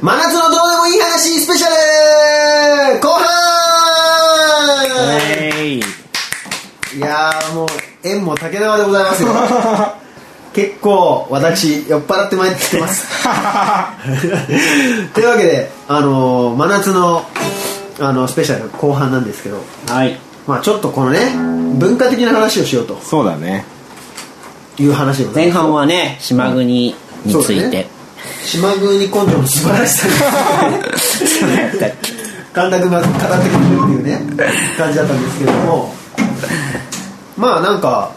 真夏のどうでもいい話スペシャル後半、はいいやーもう縁も竹縄でございますよ結構私酔っ払ってまいって ますというわけで、あのー真夏の、あのスペシャル後半なんですけど、はいまあ、ちょっとこのね文化的な話をしようとそうだねいう話でござい前ます半はね島国について、島国根性の素晴らしさに神田君が語ってくれるっていうね感じだったんですけどもまあなんか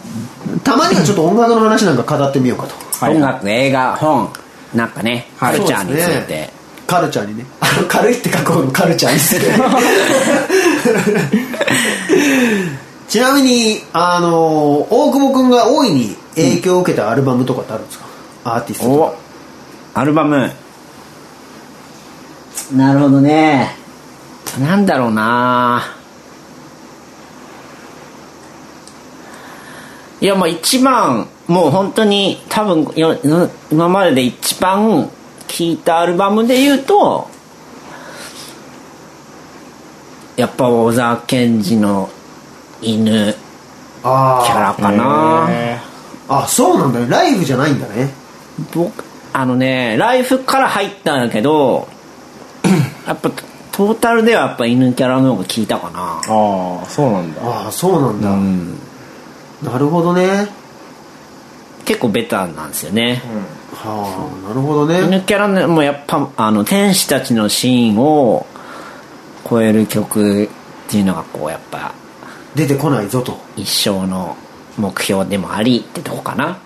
たまにはちょっと音楽の話なんか語ってみようかとはい音楽映画本なんかねカルチャーにつそういですてねカルチャーにねあの軽いって書こうのカル チャーですねちなみにあの大久保君が大いに影響を受けたアルバムとかってあるんですか、アーティストとかおアルバムなるほどねなんだろうないやまあ一番もう本当に多分よよ今までで一番聴いたアルバムで言うとやっぱ小沢健二の犬あーキャラかな、へあそうなんだねライブじゃないんだね僕あのねライフから入ったんだけどやっぱトータルではやっぱ犬キャラの方が効いたかなーああそうなんだああそうなんだ、うんなるほどね結構ベタなんですよね、はあなるほどね犬キャラのもやっぱあの天使たちのシーンを超える曲っていうのがこうやっぱ出てこないぞと一生の目標でもありってとこかな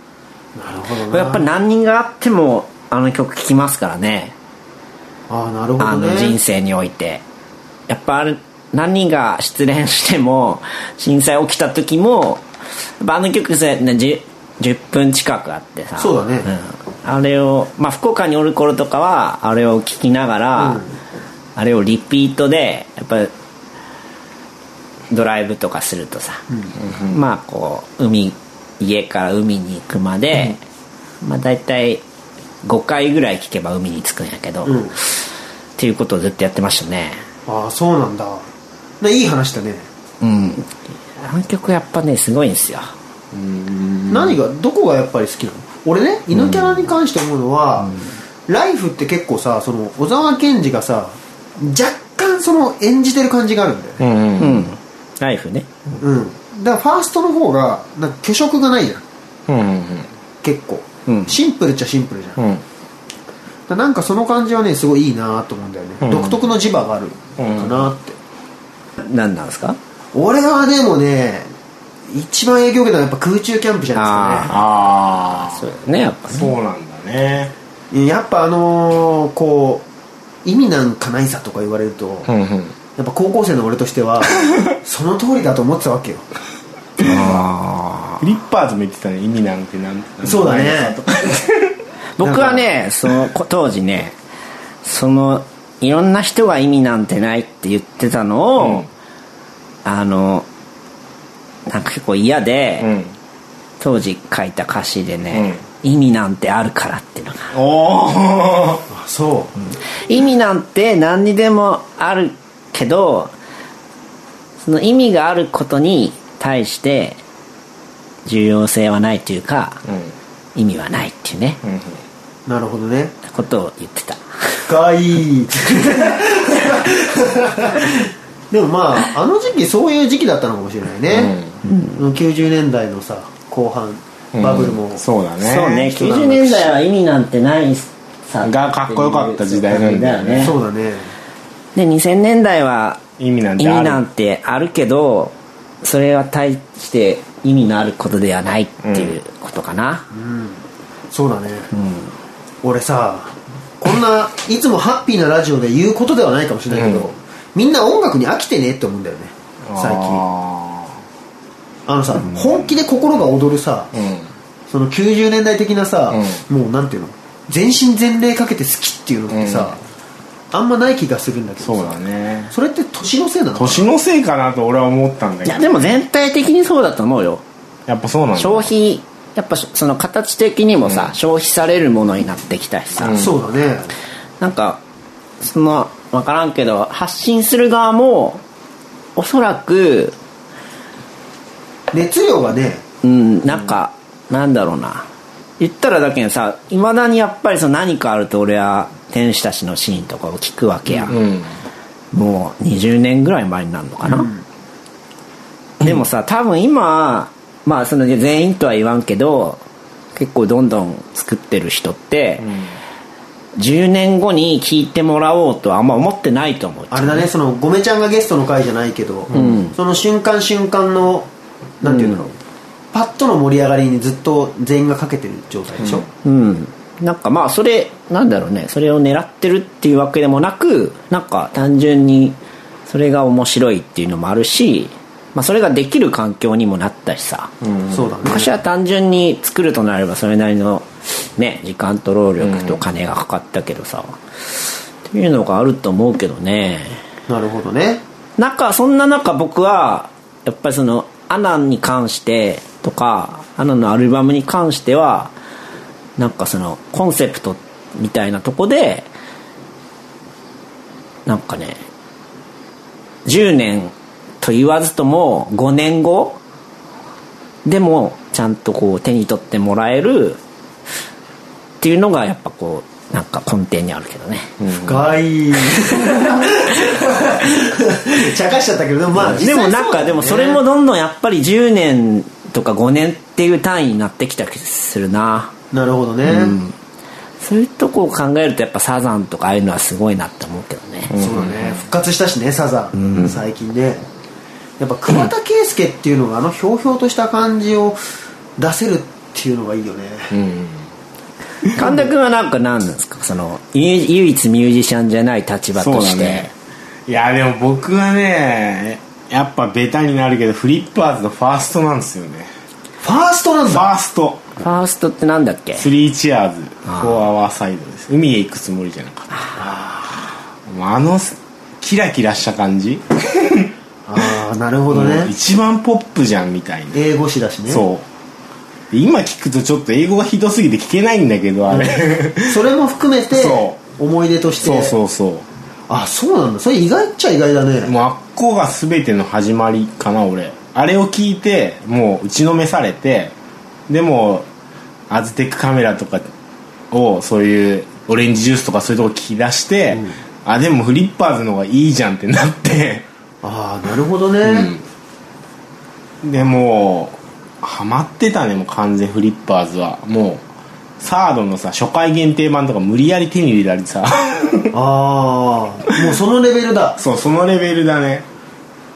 なるほどこなれやっぱ何人があってもあの曲聴きますからねああなるほあどねの人生においてやっぱあれ何が失恋しても震災起きた時もやっぱあの曲さ、ね、10, 10分近くあってさそうだねうん、あれを、まあ、福岡におる頃とかはあれを聴きながら、あれをリピートでやっぱドライブとかするとさ、まあこう海家から海に行くまで、まあ大体5回ぐらい聞けば海に着くんやけど、うんっていうことをずっとやってましたねああそうなんだないい話だね、うんあの曲やっぱねすごいんですよ何がどこがやっぱり好きなの俺ね犬キャラに関して思うのは、ライフって結構さその小沢健二がさ若干その演じてる感じがあるんだよね、うんううんんライフねうん、だからファーストの方がなんか虚飾がないじゃんうん結構、うんシンプルっちゃシンプルじゃん、うんだなんかその感じはねすごいいいなと思うんだよね、うん独特の磁場があるかなって、何なんですか俺はでもね一番影響を受けたのはやっぱ空中キャンプじゃないああそうだねやっぱねそうなんだでねすかねやっぱあのーこう意味なんかないさとか言われると、やっんうんぱ高校生の俺としてはその通りだと思ってたわけよフリッパーズも言ってたね意味なんてなんてそうだね僕はねそのこ当時ねそのいろんな人が意味なんてないって言ってたのを、うんあのなんか結構嫌で、うん当時書いた歌詞でね、意味なんてあるからっていうのがおおあそ意味なんて何にでもあるけどその意味があることに対して重要性はないというかうん意味はないっていうねうんうなるほどねことを言ってたかいでもまああの時期そういう時期だったのかもしれないね、うん、90年代のさ後半うんバブルも、そうだねそうね90年代は意味なんてないさがかっこよかった時代なんだよねそうだねで2000年代は意味なん意てあ味るなんてあるけどそれは大して意味のあることではないっていうことかな、そうだね、俺さこんないつもハッピーなラジオで言うことではないかもしれないけど、うんみんな音楽に飽きてねって思うんだよね最近ああのさ、本気で心が躍るさ、ーうんその90年代的なさ、もうなんていうの全身全霊かけて好きっていうのってさ、あんまない気がするんだけどさそうだねそれって年のせいなの年のせいかなと俺は思ったんだいけやどでも全体的にそうだと思うよやっぱそうなんだ消費やっぱその形的にもさ、消費されるものになってきたしさ、そうだねなんかその分からんけど発信する側もおそらく熱量がねうんなんか、なんだろうな言ったらだけどさいまだにやっぱりその何かあると俺は天使たちのシーンとかを聞くわけや、うんもう20年ぐらい前になるのかな、でもさ多分今まあその全員とは言わんけど結構どんどん作ってる人って、10年後に聞いてもらおうとはあんま思ってないと思うあれだねそのごめちゃんがゲストの回じゃないけど、その瞬間瞬間のなんていうんだろう、パッとの盛り上がりにずっと全員がかけてる状態でしょ、うん、なんかまあそれなんだろうねそれを狙ってるっていうわけでもなくなんか単純にそれが面白いっていうのもあるし、まあ、それができる環境にもなったしさ、そうだね昔は単純に作るとなればそれなりの、ね、時間と労力と金がかかったけどさ、っていうのがあると思うけどねなるほどねなんかそんな中僕はやっぱりそのアナに関してとかアナのアルバムに関してはなんかそのコンセプトみたいなとこでなんかね10年と言わずとも5年後でもちゃんとこう手に取ってもらえるっていうのがやっぱこうなんか根底にあるけどね、深い茶化しちゃったけどでもまあ、実で際もそうだなんかでもそれもどんどんやっぱり10年とか5年っていう単位になってきた気するななるほどね、そういうとこを考えるとやっぱサザンとかああいうのはすごいなって思うけどね、そうだね復活したしねサザン、最近ねやっぱ桑田佳祐っていうのがあのひょうひょうとした感じを出せるっていうのがいいよね、神田君はなんか何なんですかその唯唯一ミュージシャンじゃない立場そうとだして、ねいやでも僕はねやっぱベタになるけどフリッパーズのファーストなんですよねファーストなんフだァーストファーストってなんだっけスリーチアーズフォアワーサイドです海へ行くつもりじゃなかったもうあのキラキラした感じ、ああなるほどね、もう一番ポップじゃんみたいな英語詞だしねそうで今聞くとちょっと英語がひどすぎて聞けないんだけどあ れ、それも含めてそ思い出としてそうそうそあそうなんだそれ意外っちゃ意外だね、うもうあっこが全ての始まりかな俺あれを聞いてもう打ちのめされてでもアズテックカメラとかをそういうオレンジジュースとかそういうとこ聞き出して、あでもフリッパーズの方がいいじゃんってなってああなるほどね、でもうハマってたねもう完全フリッパーズはもうサードのさ初回限定版とか無理やり手に入れたり さああもうそのレベルだそうそのレベルだね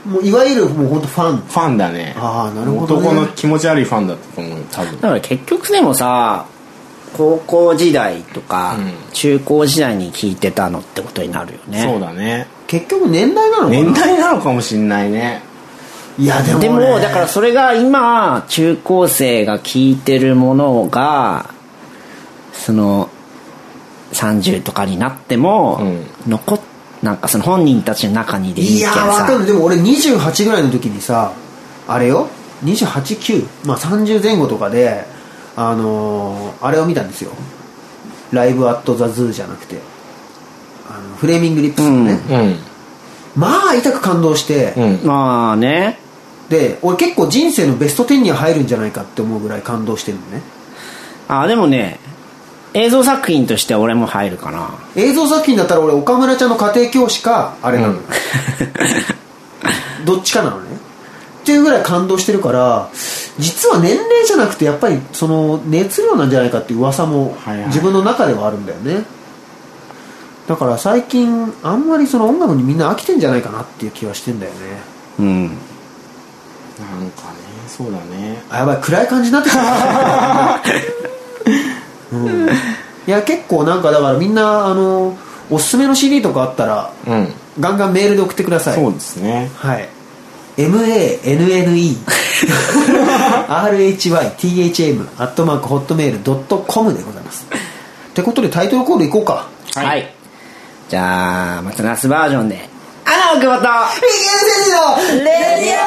もういわゆるもう本当ファンファンだねあーなるほどね男の気持ち悪いファンだったと思うよ多分だから結局でもさ高校時代とかうん中高時代に聞いてたのってことになるよね、そうだね結局年代なのかな年代なのかもしんないねいやでも,、ね、でもだからそれが今中高生が聞いてるものがその30とかになっても、う残っなんかその本人たちの中にでいいいけやどーわかさるでも俺28ぐらいの時にさあれよ289まあ30前後とかであのーあれを見たんですよライブアットザズーじゃなくてあのフレーミングリップスのね、うんまあ痛く感動して、うんまあねで俺結構人生のベスト10には入るんじゃないかって思うぐらい感動してるのねあでもね映像作品としては俺も入るかな映像作品だったら俺岡村ちゃんの家庭教師かあれなの、どっちかなのねっていうぐらい感動してるから実は年齢じゃなくてやっぱりその熱量なんじゃないかっていう噂もはいはい自分の中ではあるんだよね、だから最近あんまりその音楽にみんな飽きてんじゃないかなっていう気はしてんだよねうんなんかねそうだねあやばい暗い感じになってきた、 うん、いや結構なんかだからみんなあのおすすめの CD とかあったらうん、ガンガンメールで送ってくださいそうですねはい。manene.rhythm アットマークホットメールドットコムでございます。ってことでタイトルコールいこうか。はい、じゃあまたナスバージョンで「アナ奥本」ビギン選手のレディ「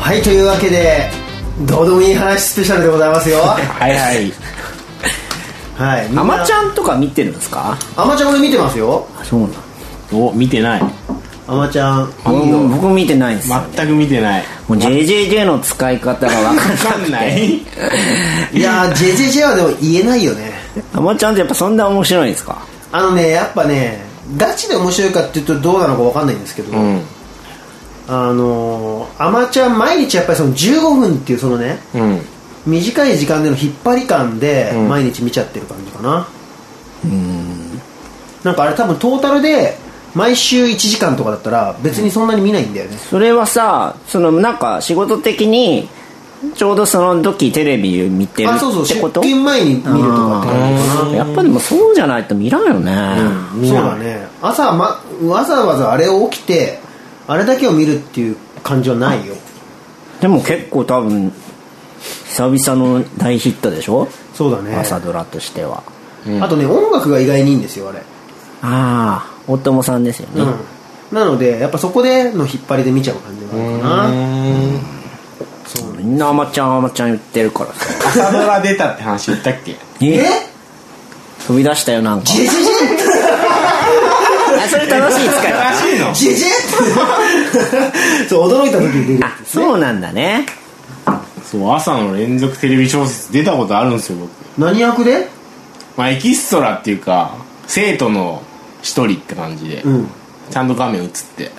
はいというわけでどうでもいい話スペシャルでございますよはいはいはいみんなアマちゃんとか見てるんですかアマちゃん俺見てますよあそうなんお見てないアマちゃんいいよ僕見てないんですよ全く見てないもう JJJ の使い方が分かんな分かんないいやー JJJ はでも言えないよね アマちゃんってやっぱそんな面白いんですかあのねやっぱねガチで面白いかっていうとどうなのか分かんないんですけど、 うんあのー、アマちゃん毎日やっぱりその15分っていうそのねうん短い時間での引っ張り感でん毎日見ちゃってる感じかなうんなんかあれ多分トータルで毎週1時間とかだったら別にそんなに見ないんだよね、それはさそのなんか仕事的にちょうどその時テレビ見てるあそうそうって出こと勤前に見るとかって感じかなやっぱでもそうじゃないと見らんよね、そうだね朝、ま、わざわざあれを起きてあれだけを見るっていう感じはないよでも結構多分久々の大ヒットでしょ、そうだね朝ドラとしてはあとね音楽が意外にいいんですよあれああ大友さんですよね、うんなのでやっぱそこでの引っ張りで見ちゃう感じなのかなそうねみんなあまちゃんあまちゃん言ってるからさ朝ドラ出たって話言ったっけえ飛び出した よなんかジェジェジあそれ楽しい使い方しいのェジェジェってそう驚いた時に出るやあつですねそうなんだねそう朝の連続テレビ小説出たことあるんですよ僕何役でまあエキストラっていうか生徒の一人って感じで、うんちゃんと画面映って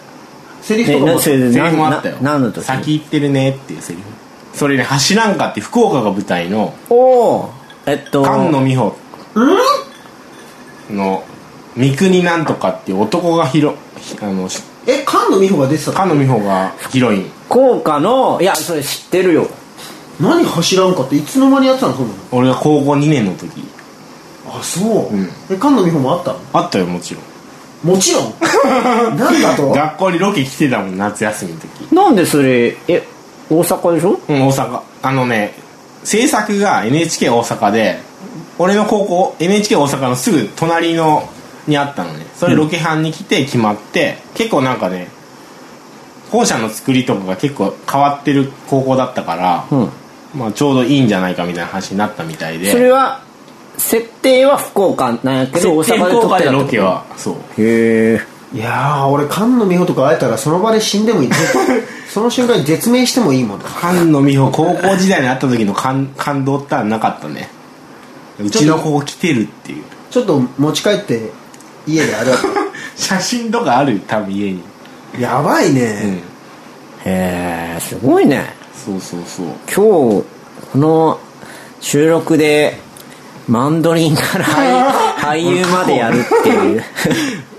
セ リフとかえもなそれでセリフもあったよな何の時先行ってるねっていうセリフそれね「走らんか」って福岡が舞台のおおえっと菅野美穂の三国なんとかっていう男がヒロひあのしえ菅野美穂が出てた菅野美穂がヒロイン効果のいやそれ知ってるよ何走らんかっていつの間にやってたのそんな俺が高校2年の時のあそう、うんえ菅野美穂もあったのあったよもちろんもち ろんなんだ と学校にロケ来てたもん夏休みの時なんでそれえ大阪でしょうん大阪あのね制作が NHK 大阪で俺の高校 NHK 大阪のすぐ隣のにあったのねそれロケ班に来て決まって、結構なんかね校舎の作りとかが結構変わってる高校だったから、うんまあ、ちょうどいいんじゃないかみたいな話になったみたいでそれは設定は福岡なんやけど大設定阪で撮福っ岡てでたロってケこはそうとへえいやー俺菅野美穂とか会えたらその場で死んでもいい その瞬間に絶命してもいいもん菅野美穂高校時代に会った時の感 感動ったらなかったねうちの子来てるっていうちょっと持ち帰って家であ れ写真とかある多分家にやばいね、うんへえすごいねそうそうそう今日この収録でマンドリン から俳俳優までやるっていう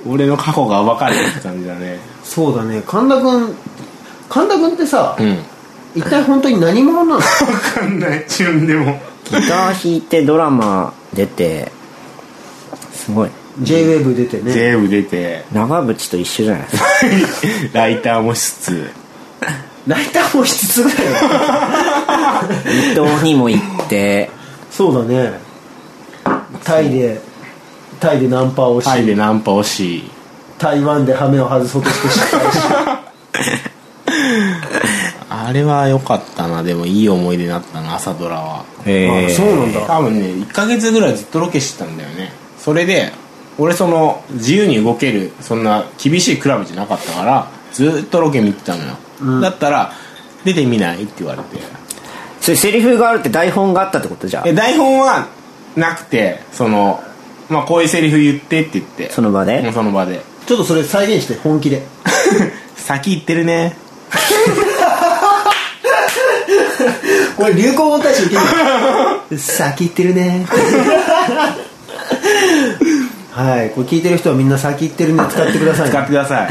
俺の過去が暴かれてる感じだねそうだね神田君神田君ってさ、うん一体本当に何者なの 分かんない自分でもギター弾いてドラマ出てすごい ?JWAVE 出てね全部出て長渕と一緒じゃないですかライターもしつつライターもしつつだよ伊藤にも行ってそうだねタイでタイでナンパをしタイでナンパをし台湾で羽目を外そうとして失敗しあれは良かったなでもいい思い出になったな朝ドラはあそうなんだ多分ね1ヶ月ぐらいずっとロケしてたんだよねそれで俺その自由に動けるそんな厳しいクラブじゃなかったからずっとロケ見てたのよ、だったら出てみないって言われてそれセリフがあるって台本があったってことじゃあで台本はなくてその、まあ、こういうセリフ言ってって言ってその場でうんその場でちょっとそれ再現して本気で「先行ってるねこれ流行語大賞いける 先行ってるねはいこれ聞いてる人はみんな先行ってるね使ってくだ」さい使っねてください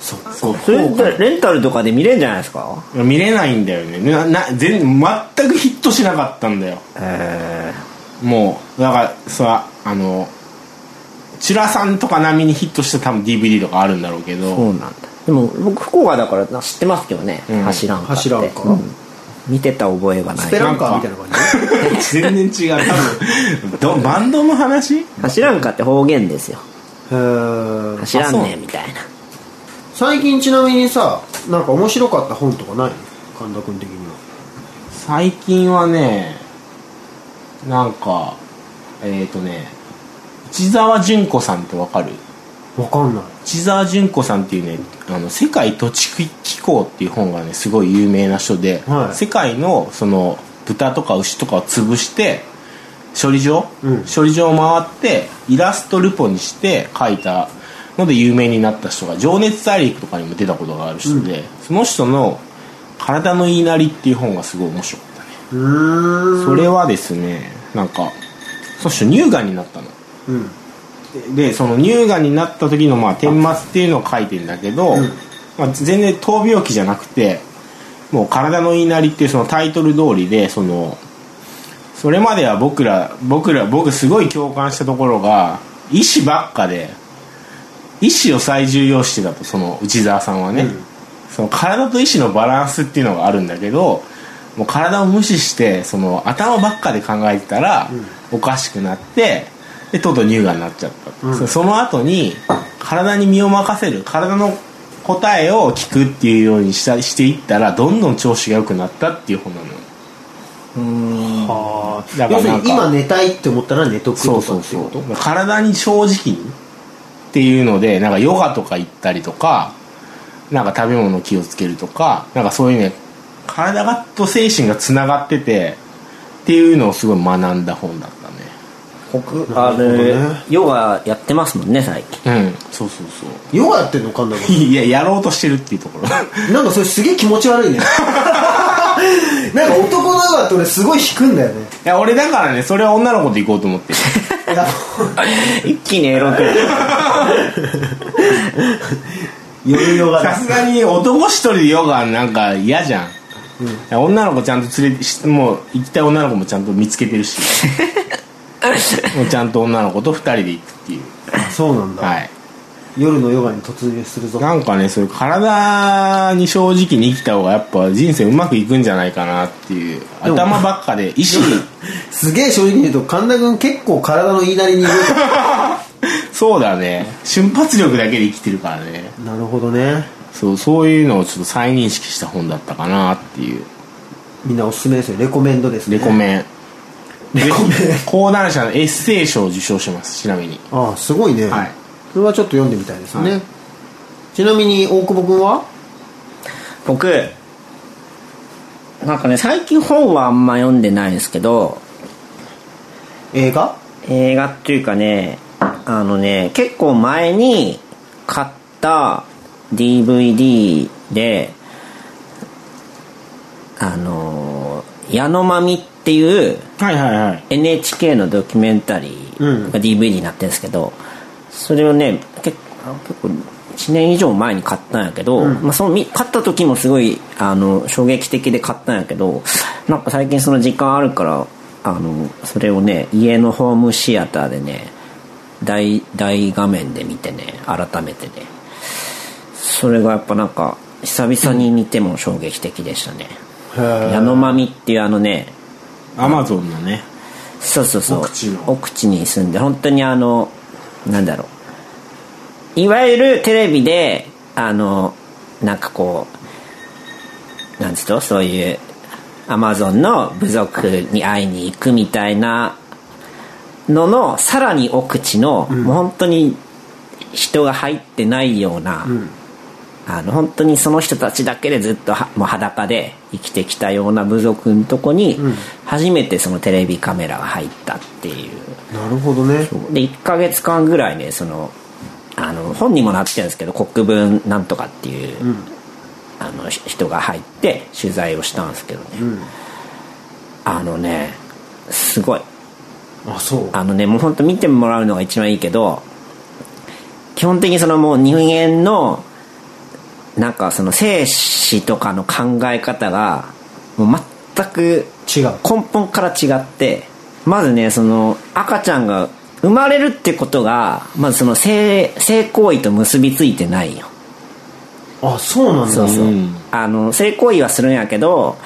そうそうそれってレンタルとかで見れんじゃないですか見れないんだよねなな全全くヒットしなかったんだよえもうだからさあのチュラさんとか並みにヒットした多分 DVD とかあるんだろうけー、そうどなんだでも僕福岡だから知ってますけどね、うん走らんかって走らんかうん見てた覚えがなスペいランカーみたいな感じ 全然違う多分どバンドの話走らんかって方言ですよへー走らんねあそえうみたいな最近ちなみにさなんか面白かった本とかないの神田君的には最近はねなんかえっ、ー、とね市沢純子さんってわかるわかんない市沢純子さんっていうね「あの世界土地機構」っていう本がねすごい有名な人で、はい世界のその豚とか牛とかを潰して処理場、うん処理場を回ってイラストルポにして描いたので有名になった人が「情熱大陸」とかにも出たことがある人で、その人の「体の言いなり」っていう本がすごい面白かったね、うーんそれはですねなんかその人乳がんになったのうんでその乳がんになった時のまあ顛末っていうのを書いてるんだけど、うんまあ、全然闘病記じゃなくてもう「体の言いなり」っていうそのタイトル通りでそのそれまでは僕ら僕ら僕すごい共感したところが医師ばっかで医師を最重要視してたとその内澤さんはね、うんその体と意志のバランスっていうのがあるんだけどもう体を無視してその頭ばっかで考えてたらおかしくなってでとうとう乳がんになっちゃった、うんそその後に体に身を任せる体の答えを聞くっていうようにしたしていったらどんどん調子が良くなったっていう本なのはあだか要らするなんにか今寝たいって思ったら寝とくそとうそかうってそいううこと体に正直にっていうのでなんかヨガとか行ったりとかなんか食べ物気をつけるとかなんかそういうね体がと精神がつながっててっていうのをすごい学んだ本だったね僕なあるほどねれ、ヨガやってますもんね最近うんそうそうそうヨガやってんの神田 君いややろうとしてるっていうところ なんかそれすげえ気持ち悪いねなんか男のヨガって俺すごい引くんだよ ねいや俺だからねそれは女の子と行こうと思ってるいや一気にエロく夜ヨガさだすがに男一人でヨガなんか嫌じゃん、いや女の子ちゃんと連れてしもう行きたい女の子もちゃんと見つけてるし もうちゃんと女の子と二人で行くっていうあそうなんだ、はい夜のヨガに突入するぞなんかねそういう体に正直に生きた方がやっぱ人生うまくいくんじゃないかなっていうでも頭ばっかで意志すげえ正直に言うと神田君結構体の言いなりに動いて るそうだね瞬発力だけで生きてるからねなるほどねそうそういうのをちょっと再認識した本だったかなっていうみんなおすすめですよレコメンドですねレコメンレコメンぜひ講談社のエッセイ賞を受賞してますちなみにああすごいね、はいそれはちょっと読んでみたいですね、はいちなみに大久保君は僕なんかね最近本はあんま読んでないんですけど映画映画っていうかねあのね結構前に買った DVD であの「矢野まみ」っていうはいはいはい NHK のドキュメンタリーが DVD になってるんですけど、それをね結結構1年以上前に買ったんやけど、まあ、そのみ買った時もすごいあの衝撃的で買ったんやけどなんか最近その時間あるからあのそれをね家のホームシアターでね大大画面で見てね改めてねそれがやっぱなんか久々に見ても衝撃的でしたねへ「え矢野まみ」っていうあのねアマゾンのねそうそうそう奥地の奥地に住んで本当にあのなんだろういわゆるテレビであのなんかこうなんつうとそういうアマゾンの部族に会いに行くみたいなののさらに奥地の、もう本当に人が入ってないような、あの本当にその人たちだけでずっとはもう裸で生きてきたような部族のとこに初めてそのテレビカメラが入ったっていうなるほどねで1ヶ月間ぐらいねそのあの本にもなってるんですけど国分なんとかっていう、あのし人が入って取材をしたんですけどね、あのねすごいあそうあのねもう本当見てもらうのが一番いいけど基本的にそのもう人間のなんかその生死とかの考え方がもう全く違う根本から違ってまずねその赤ちゃんが生まれるってことがまずその性性行為と結びついてないよあそうなんだそうそう、うんあの性行為はするんやけど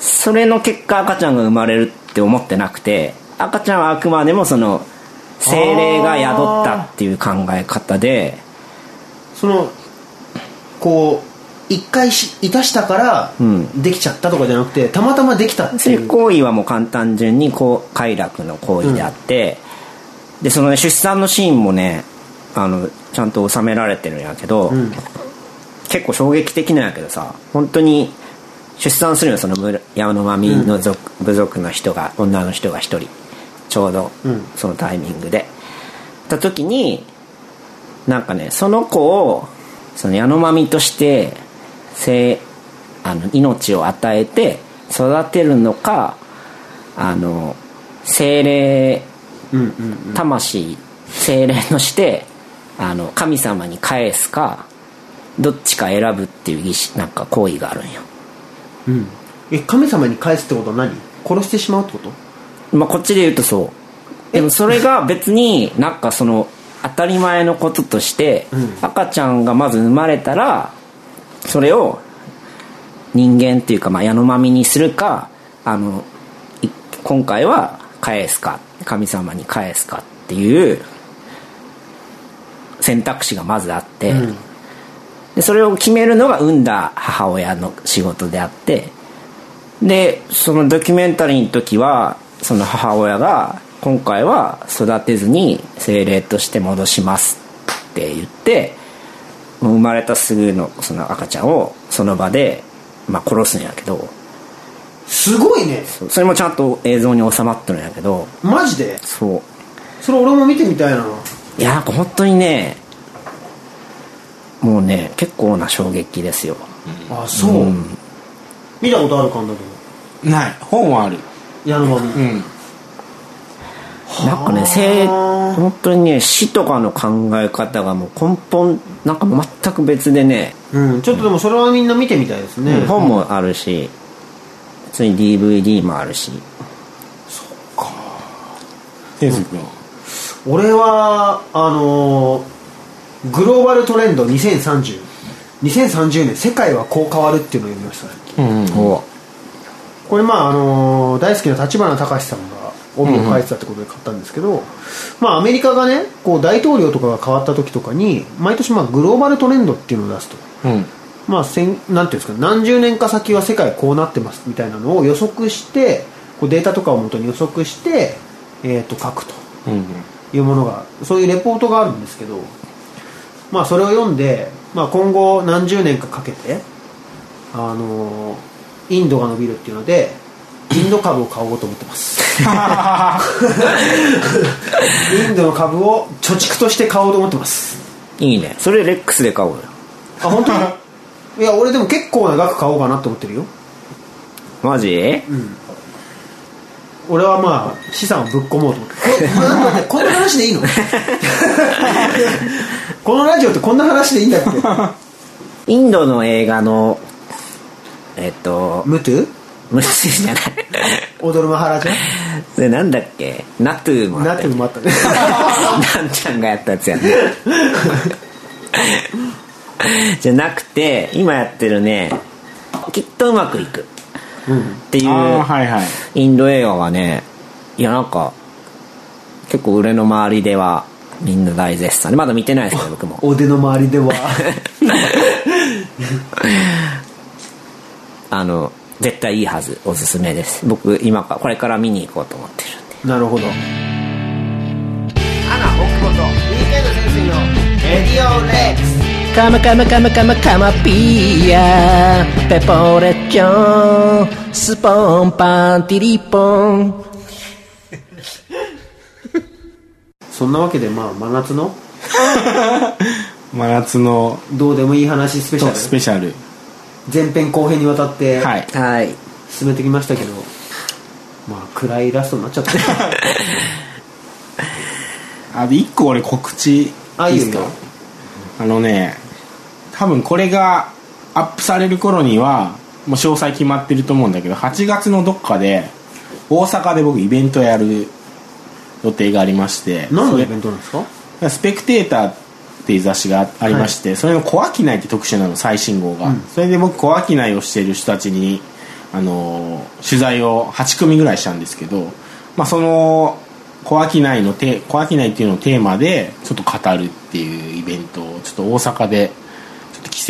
それの結果赤ちゃんが生まれるって思ってなくて赤ちゃんはあくまでもその精霊が宿ったっていう考え方でそのこう一回しいたしたからんできちゃったとかじゃなくてたまたまできたってい性う行為はもう簡単順にこう快楽の行為であって、でその、ね、出産のシーンもねあのちゃんと収められてるんやけど、ん結構衝撃的なんやけどさ本当に出産するのそのむ山のまみの族、部族の人が女の人が一人ちょうどうんそのタイミングで、た時になんかねその子をそのヤノマミとして生あの命を与えて育てるのかあの精霊うんうん魂精霊としてあの神様に返すかどっちか選ぶっていう儀式なんか行為があるんよ、うんえ神様に返すってことは何殺してしまうってことまあ、こっちで言うとそうでもそれが別になんかその当たり前のこととして、うん赤ちゃんがまず生まれたらそれを人間っていうか、まあ、矢のまみにするかあのい今回は返すか神様に返すかっていう選択肢がまずあって、んでそれを決めるのが産んだ母親の仕事であってでそのドキュメンタリーの時はその母親が今回は育てずに精霊として戻しますって言ってもう生まれたすぐのその赤ちゃんをその場で、まあ、殺すんやけどすごいねそそれもちゃんと映像に収まってるんやけどマジでそそれ俺も見てみたいなういやなんか本当にねもうね結構な衝撃ですよあそう、見たことあるかんだけどない本はある矢野真う美んなんかね性本当にね死とかの考え方がもう根本なんかもう全く別でね、うん、ちょっとでもそれはみんな見てみたいですね、本もあるし普通に DVD もあるし天君は俺はあのーグローバルトレンド20302030年世界はこう変わるっていうのを読みましたねうんおこれまああの大好きな立花隆さんが帯を書いてたってことで買ったんですけど、まあアメリカがねこう大統領とかが変わった時とかに毎年まあグローバルトレンドっていうのを出すとうんまあ、せんなんていうんですか何十年か先は世界こうなってますみたいなのを予測してこうデータとかを元に予測して、えー、と書くとうんいうものがそういうレポートがあるんですけど、まあ、それを読んで、まあ、今後何十年かかけて、あのーインドが伸びるっていうのでインド株を買おうと思ってますインドの株を貯蓄として買おうと思ってますいいねそれレックスで買おうよあ本当にいや俺でも結構な額買おうかなと思ってるよマジ俺はまあ資産をぶっ込もうと思ってこれなんかねこんな話でいいの このラジオってこんな話でいいんだ っけインドの映画のえっと ムトゥ無視じゃない踊るマハラジャそれなんだっけナトゥーもあなっったてよもまった ねなんちゃんがやったやつやねじゃなくて今やってるねきっとうまくいくっていああうはいはいインド映画はねいやなんか結構俺の周りではみんな大絶賛でまだ見てないですけど僕も腕の周りではあの絶対いいはずおすすめです僕今かこれから見に行こうと思ってるんでなるほどアナ奥本レディオレックスカムカムカムカムカマピーヤペポレッチョンスポンパンティリポンそんなわけでまあ真夏の真夏のどうでもいい話スペシとスャルペシャル前編後編にわたってはいはい進めてきましたけど、まあ暗いラストになっちゃった あで1個俺告知いいあいいでよいすいよかあのね多分これがアップされる頃にはもう詳細決まってると思うんだけど8月のどっかで大阪で僕イベントやる予定がありまして何そのれイベントなんですかスペクテーターっていう雑誌がありまして、それの「小商い」って特集なの最新号が、それで僕小商いをしている人たちに、あのー取材を8組ぐらいしたんですけど、まあ、その小商いのて小商いっていうのをテーマでちょっと語るっていうイベントをちょっと大阪でちょっっと帰省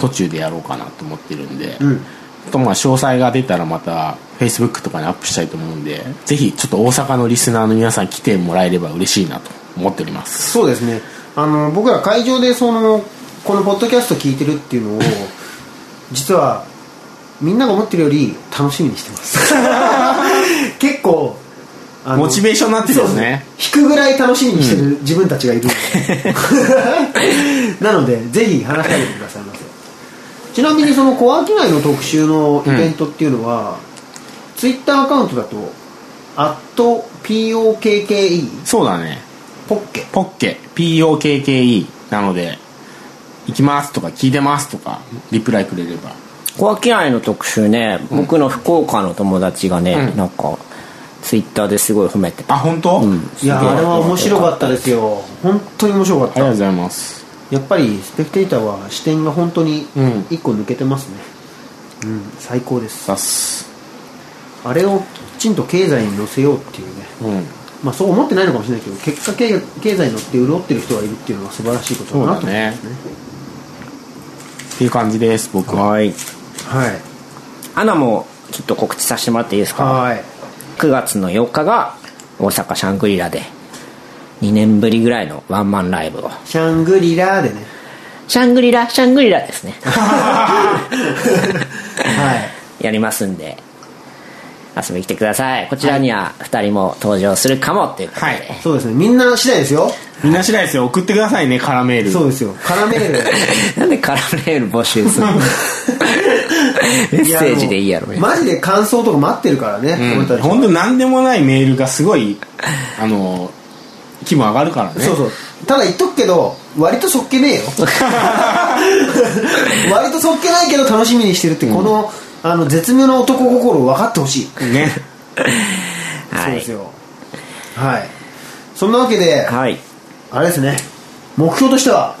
途中でやろうかなと思ってるんで、うんあとまあ詳細が出たらまた Facebook とかにアップしたいと思うんでぜひちょっと大阪のリスナーの皆さん来てもらえれば嬉しいなと思っておりますそうですねあの僕ら会場でそのこのポッドキャスト聞いてるっていうのを実はみんなが思ってるより楽しみにしてます 結構あのモチベーションになってるよね引くぐらい楽しみにしてる自分たちがいる のでなのでぜひ話しかけてくださいませちなみにその小商いの特集のイベントっていうのは、ツイッターアカウントだと「@POKKE そうだねポッケポッケ POKKE なので行きますとか聞いてますとかリプライくれれば小商いの特集ね僕の福岡の友達がね、なんかツイッターですごい褒めてたあ本当、うんいやあれは面白かったですよ本当に面白あかりがとうっございますたやっぱりスペクテーターは視点が本当にうん一個抜けてますねうん、最高ですさっすあれをきちんと経済に乗せようっていうねうんまあそう思ってないのかもしれないけど結果経経済に乗って潤ってる人がいるっていうのは素晴らしいことそだうなだと思いまねすねっていう感じです僕ははいはいアナもちょっと告知させてもらっていいですかはい9月の4日が大阪シャングリラで2年ぶりぐらいのワンマンライブをシャングリラでねシャングリラシャングリラですねはいやりますんで遊びに来てくださいこちらには2人も登場するかもっていうことで、はいそうですねみんな次第ですよみんな次第ですよ送ってくださいねカラメールそうですよ絡め る なんでカラーメール募集するの メッセージでいいやろいもうマジで感想とか待ってるからね、うん俺たち本当なんでもないメールがすごいあの気分上がるからねそうそうただ言っとくけど割とそっけねえ よ割とそっけないけど楽しみにしてるって、このあの絶妙な男心を分かってほしい、ね そうはでいすよはいそんなわけではいあれですね目標としては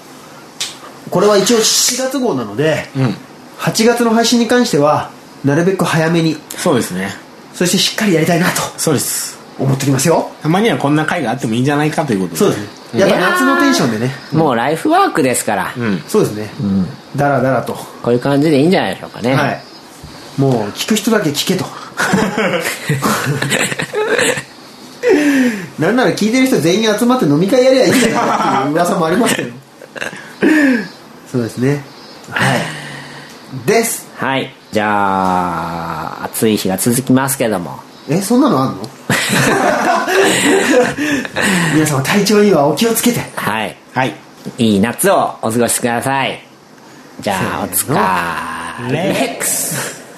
これは一応7月号なのでうん8月の配信に関してはなるべく早めにそうですねそしてしっかりやりたいなとそうです思ってきますよたまにはこんな回があってもいいんじゃないかということそうですねやっぱ夏のテンションでねもうライフワークですから、うんそうですね、だらだらとこういう感じでいいんじゃないでしょうかね、はい、もう聞く人だけ聞 けとなんなら聞いてる人全員集まって飲み会やりゃいいんだよっていう噂もありますけ どそうですね はいですはい。じゃあ、暑い日が続きますけども。えそんなのあんの 皆様体調にはお気をつけてはい。はいいい夏をお過ごしください。じゃあ、おつかレレックス